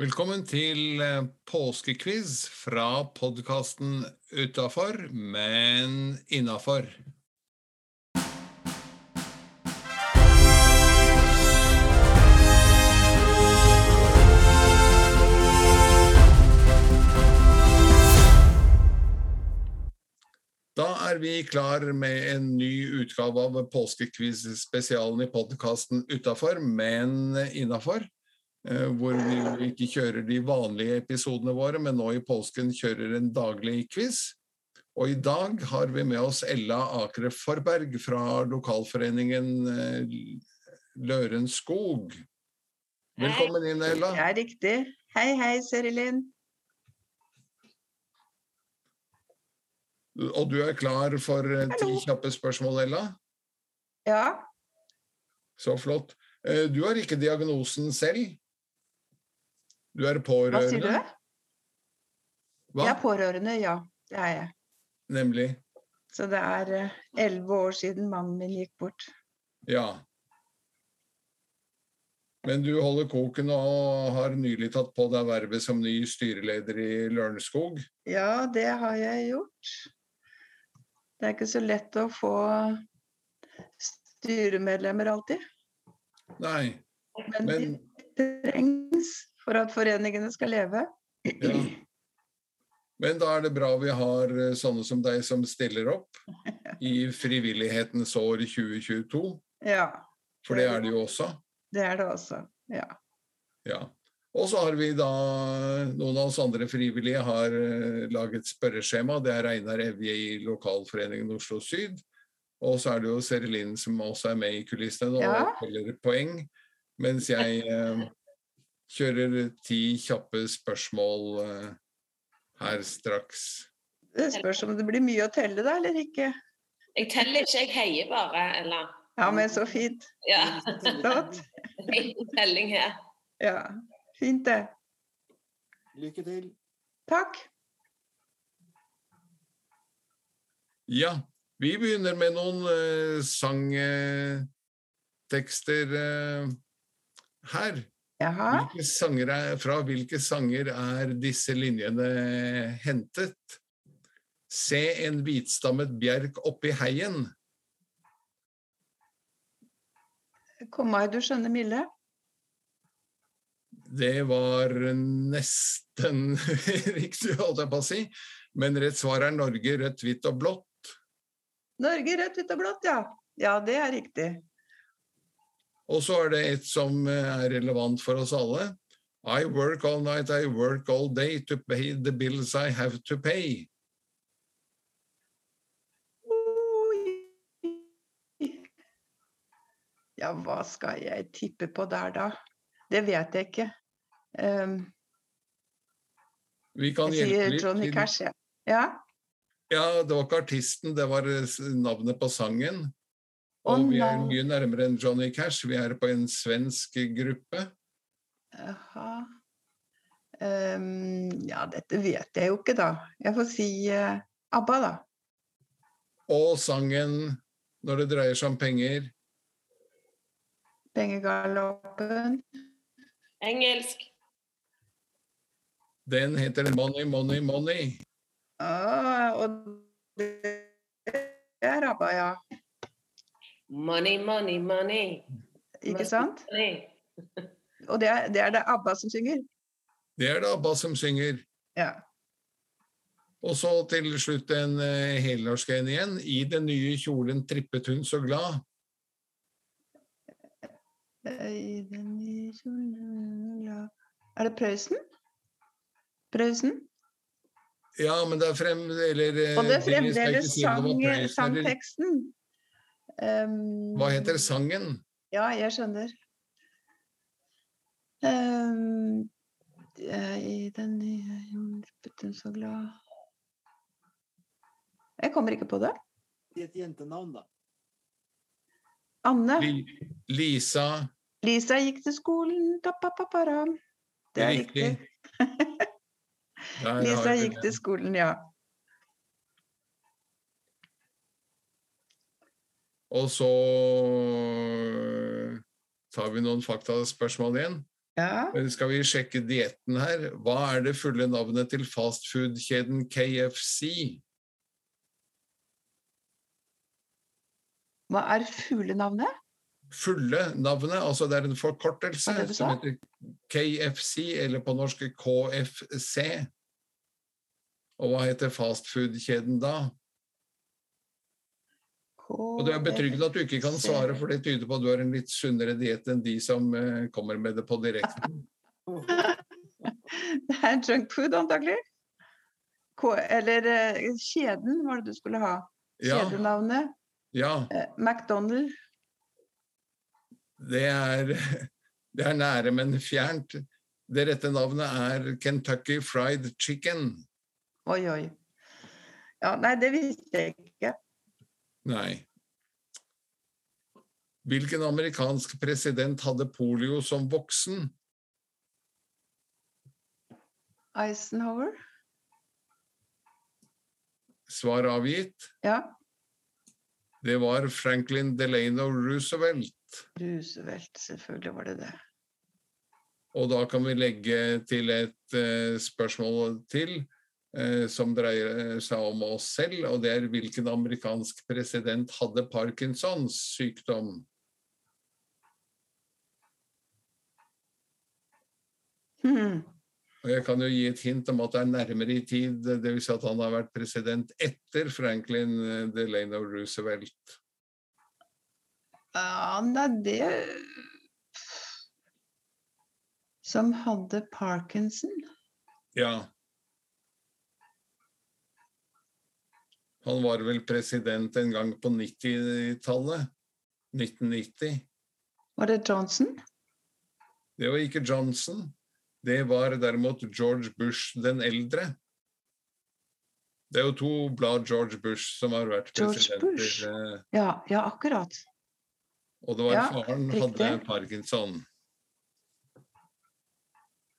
Velkommen til eh, påskekviz fra podkasten Utafor, men innafor. Da er vi klar med en ny utgave av påskekviz-spesialen i podkasten Utafor, men innafor. Eh, hvor vi jo ikke kjører de vanlige episodene våre, men nå i påsken kjører en daglig quiz. Og i dag har vi med oss Ella Akre Forberg fra lokalforeningen eh, Lørenskog. Velkommen inn, Ella. Det er riktig. Hei, hei, Serilin. Og du er klar for eh, ti Hallo. kjappe spørsmål, Ella? Ja, Så flott. Eh, Du har ikke diagnosen selv? Du er pårørende? hva sier du? Hva? Jeg er pårørende, ja. Det er jeg. Nemlig. Så det er eh, elleve år siden mannen min gikk bort. Ja. Men du holder koken og har nylig tatt på deg vervet som ny styreleder i Lørenskog. Ja, det har jeg gjort. Det er ikke så lett å få styremedlemmer alltid. Nei. Men de Men- trengs for at foreningene skal leve. Ja. Men da er det bra vi har eh, sånne som deg som stiller opp i frivillighetens år 2022, Ja, for det er det jo også. det altså. er det også. Ja. Ja. Og så har vi da Noen av oss andre frivillige har eh, laget spørreskjema. Det er Einar Evje i lokalforeningen Oslo Syd. Og så er det jo Seri Linn som også er med i kulissene nå Ja. og teller poeng. Mens jeg eh, kjører ti kjappe spørsmål eh, her straks. Det spørs om det blir mye å telle da, eller ikke. Jeg teller ikke, jeg heier bare, eller Ja, men så fint. Ja. Flott. Ingen telling her. Ja, fint det. Lykke til. Takk. Ja, vi begynner med noen eh, sangtekster eh, her. Jaha. Hvilke sanger er, fra hvilke sanger er disse linjene hentet? Se en hvitstammet bjerk oppi heien. Kom meg, du skjønne milde. Det var nesten riktig, holdt jeg på å si. Men rett svar er Norge, rødt, hvitt og blått. Norge rødt, hvitt og blått, ja. Ja, det er riktig. Og så er det et som eh, er relevant for oss alle. I work all night, I work all day to pay the bills I have to pay. Oi. Ja, hva skal jeg tippe på der, da? Det vet jeg ikke. Ehm, Vi kan jeg hjelpe sier litt. Johnny til- Cash, jeg. Ja. Ja, det var ikke artisten, det var eh, s- navnet på sangen. Å, Og vi er nei. mye nærmere enn Johnny Cash. Vi er på en svensk gruppe. Jaha. Ehm, ja, dette vet jeg jo ikke, da. Jeg får si eh, ABBA, da. Og sangen, når det dreier seg om penger Pengegaloppen. Engelsk. Den heter Money, Money, Money. Ah, og det er ABBA, ja. Money, money, money. Ikke sant? Money. Og det er det, er det ABBA som synger? Det er det ABBA som synger. Ja. Og så til slutt en eh, helnorsk en igjen. I den nye kjolen trippet hun så glad. I den nye kjolen glad Er det Prøysen? Prøysen? Ja, men det er frem... Eller eh, Og det er Billy skal ikke fremdeles si om det var sang- Preussen eller- sangteksten. Ehm, Hva heter sangen? Ja, jeg skjønner. Ehm, eh, I den nye kjolen trippet hun så glad Jeg kommer ikke på det. I et jentenavn, da. Anne. Li- Lisa Lisa gikk til skolen da, pa, pa, pa, ra. Det er riktig. Der har Lisa vi gikk det. til skolen, ja. øh, Og så tar vi noen faktaspørsmål igjen. Ja. Skal vi sjekke dietten her? Hva er det fulle navnet til fastfood-kjeden KFC? Hva er fuglenavnet? Fulle navnet, altså det er en forkortelse Hva er det du som sa? heter KFC, eller på norsk KFC. Og hva heter fastfood-kjeden da? Og det er betryggende at du ikke kan svare, for det tyder på at du har en litt sunnere diett enn de som eh, kommer med det på direkten. Det er junk food, antagelig. K eller eh, kjeden, var det du skulle ha. Ja, Kjedenavnet. ja Eh, McDonald. det, er, det er nære, men fjernt. Det rette navnet er Kentucky Fried Chicken. Oi, oi. Ja, nei, det visste jeg ikke. Nei. Hvilken amerikansk president hadde polio som voksen? Eisenhower. Svar avgitt. Ja. Det var Franklin Delano Roosevelt. Roosevelt, selvfølgelig var det det. Og da kan vi legge til et eh, spørsmål til eh, som dreier seg om oss selv, og det er hvilken amerikansk president hadde Parkinsons sykdom? Hmm. Og jeg kan jo gi et hint om at det er nærmere i tid, dvs. Si at han har vært president etter Franklin eh, Delano Roosevelt. Ja, nei, det Som hadde parkinson. Ja. Han var vel president en gang på 90-tallet? 1990? Var det Johnson? Det var ikke Johnson. Det var derimot George Bush den eldre. Det er jo to blad George Bush som har vært George Bush. presidenter. eh, Ja, ja akkurat. Og det var Ja, faren riktig. hadde parkinson.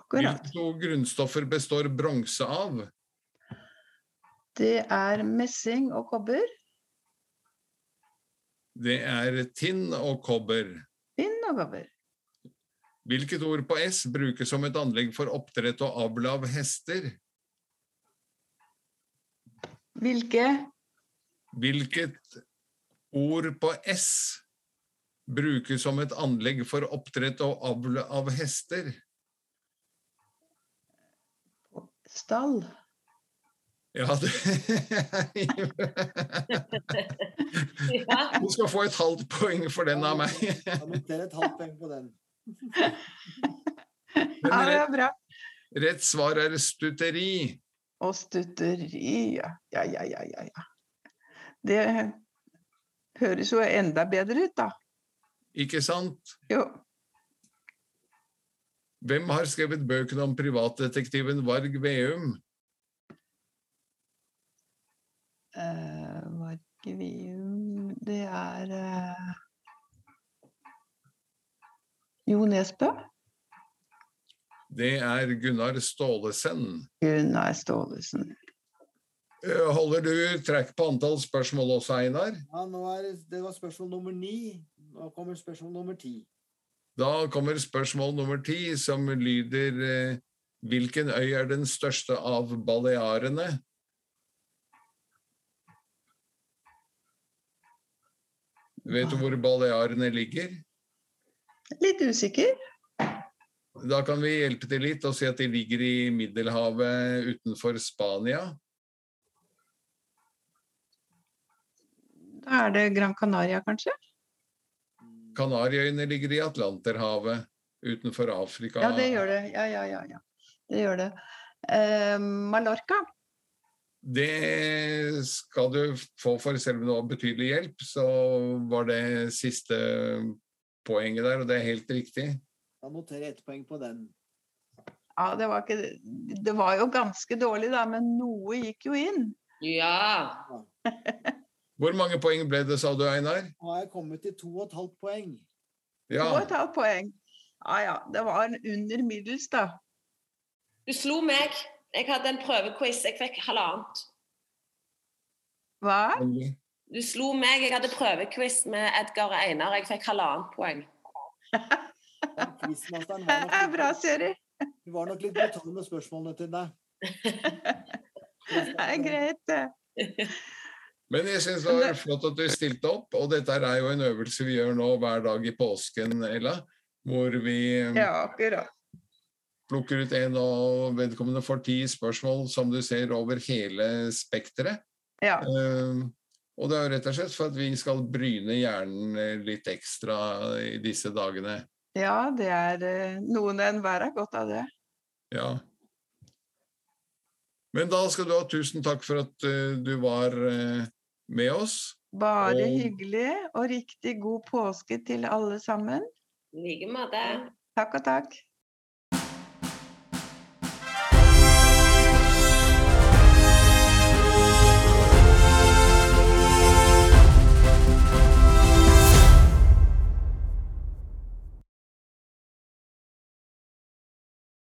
akkurat. Hvilke to grunnstoffer består bronse av? Det er messing og kobber. Det er tinn og kobber. Finn og kobber. Hvilket ord på S brukes som et anlegg for oppdrett og avl av hester? Hvilke? Hvilket ord på S brukes som et anlegg for oppdrett og avl av hester? Stall. Ja, det Ja. Du skal få et halvt poeng for den av meg. Jeg noterer et halvt poeng på den. Men Ja, det rett, er bra. rett svar er stutteri. Og stutteri. Ja, ja, ja, ja. ja, ja. Det høres jo enda bedre ut, da. Ikke sant? Jo. Hvem har skrevet bøkene om privatdetektiven Varg Veum? Eh, var ikke vi Det er eh, Jo Nesbø? Det er Gunnar Staalesen. Gunnar Staalesen. Eh, Holder du trekk på antall spørsmål også, Einar? Ja, nå er det, det var spørsmål nummer ni. Nå kommer spørsmål nummer ti. Da kommer spørsmål nummer ti, som lyder eh, Hvilken øy er den største av Balearene? Vet du hvor Balearene ligger? Litt usikker. Da kan vi hjelpe til litt og si at de ligger i Middelhavet utenfor Spania. Da er det Gran Canaria, kanskje? Kanariøyene ligger i Atlanterhavet utenfor Afrika. Ja, det gjør det. Ja, ja, ja. ja. Det gjør det. Eh, Mallorca. Det skal du få for selv om det var betydelig hjelp, så var det siste poenget der, og det er helt riktig. Da noterer jeg ett poeng på den. Ja, det var, ikke, det var jo ganske dårlig, da, men noe gikk jo inn. ja. Hvor mange poeng ble det, sa du, Einar? Nå har jeg kommet til to og et halvt poeng. To og Ja, et halvt poeng. Ja ja, det var en under middels, da. Du slo meg. Jeg hadde en prøvequiz. Jeg fikk halvannet. Hva? Du slo meg. Jeg hadde prøvequiz med Edgar og Einar. Jeg fikk halvannet poeng. Men Quizmasteren Det var nok er litt- bra, Siri. Hun var nok litt brutal med spørsmålene til deg. Det er greit, det. Men jeg syns det var flott at du stilte opp, og dette er jo en øvelse vi gjør nå hver dag i påsken, Ella. Hvor vi Ja, akkurat. plukker ut en og vedkommende får ti spørsmål, som du ser, over hele spekteret. Ja. Eh, Og det er jo rett og slett for at vi skal bryne hjernen eh, litt ekstra i disse dagene. ja, det er eh, noen og enhver har godt av det. Ja. Men da skal du ha tusen takk for at eh, du var eh, med oss. Bare Og- hyggelig, og riktig god påske til alle sammen. I like måte. Takk og takk.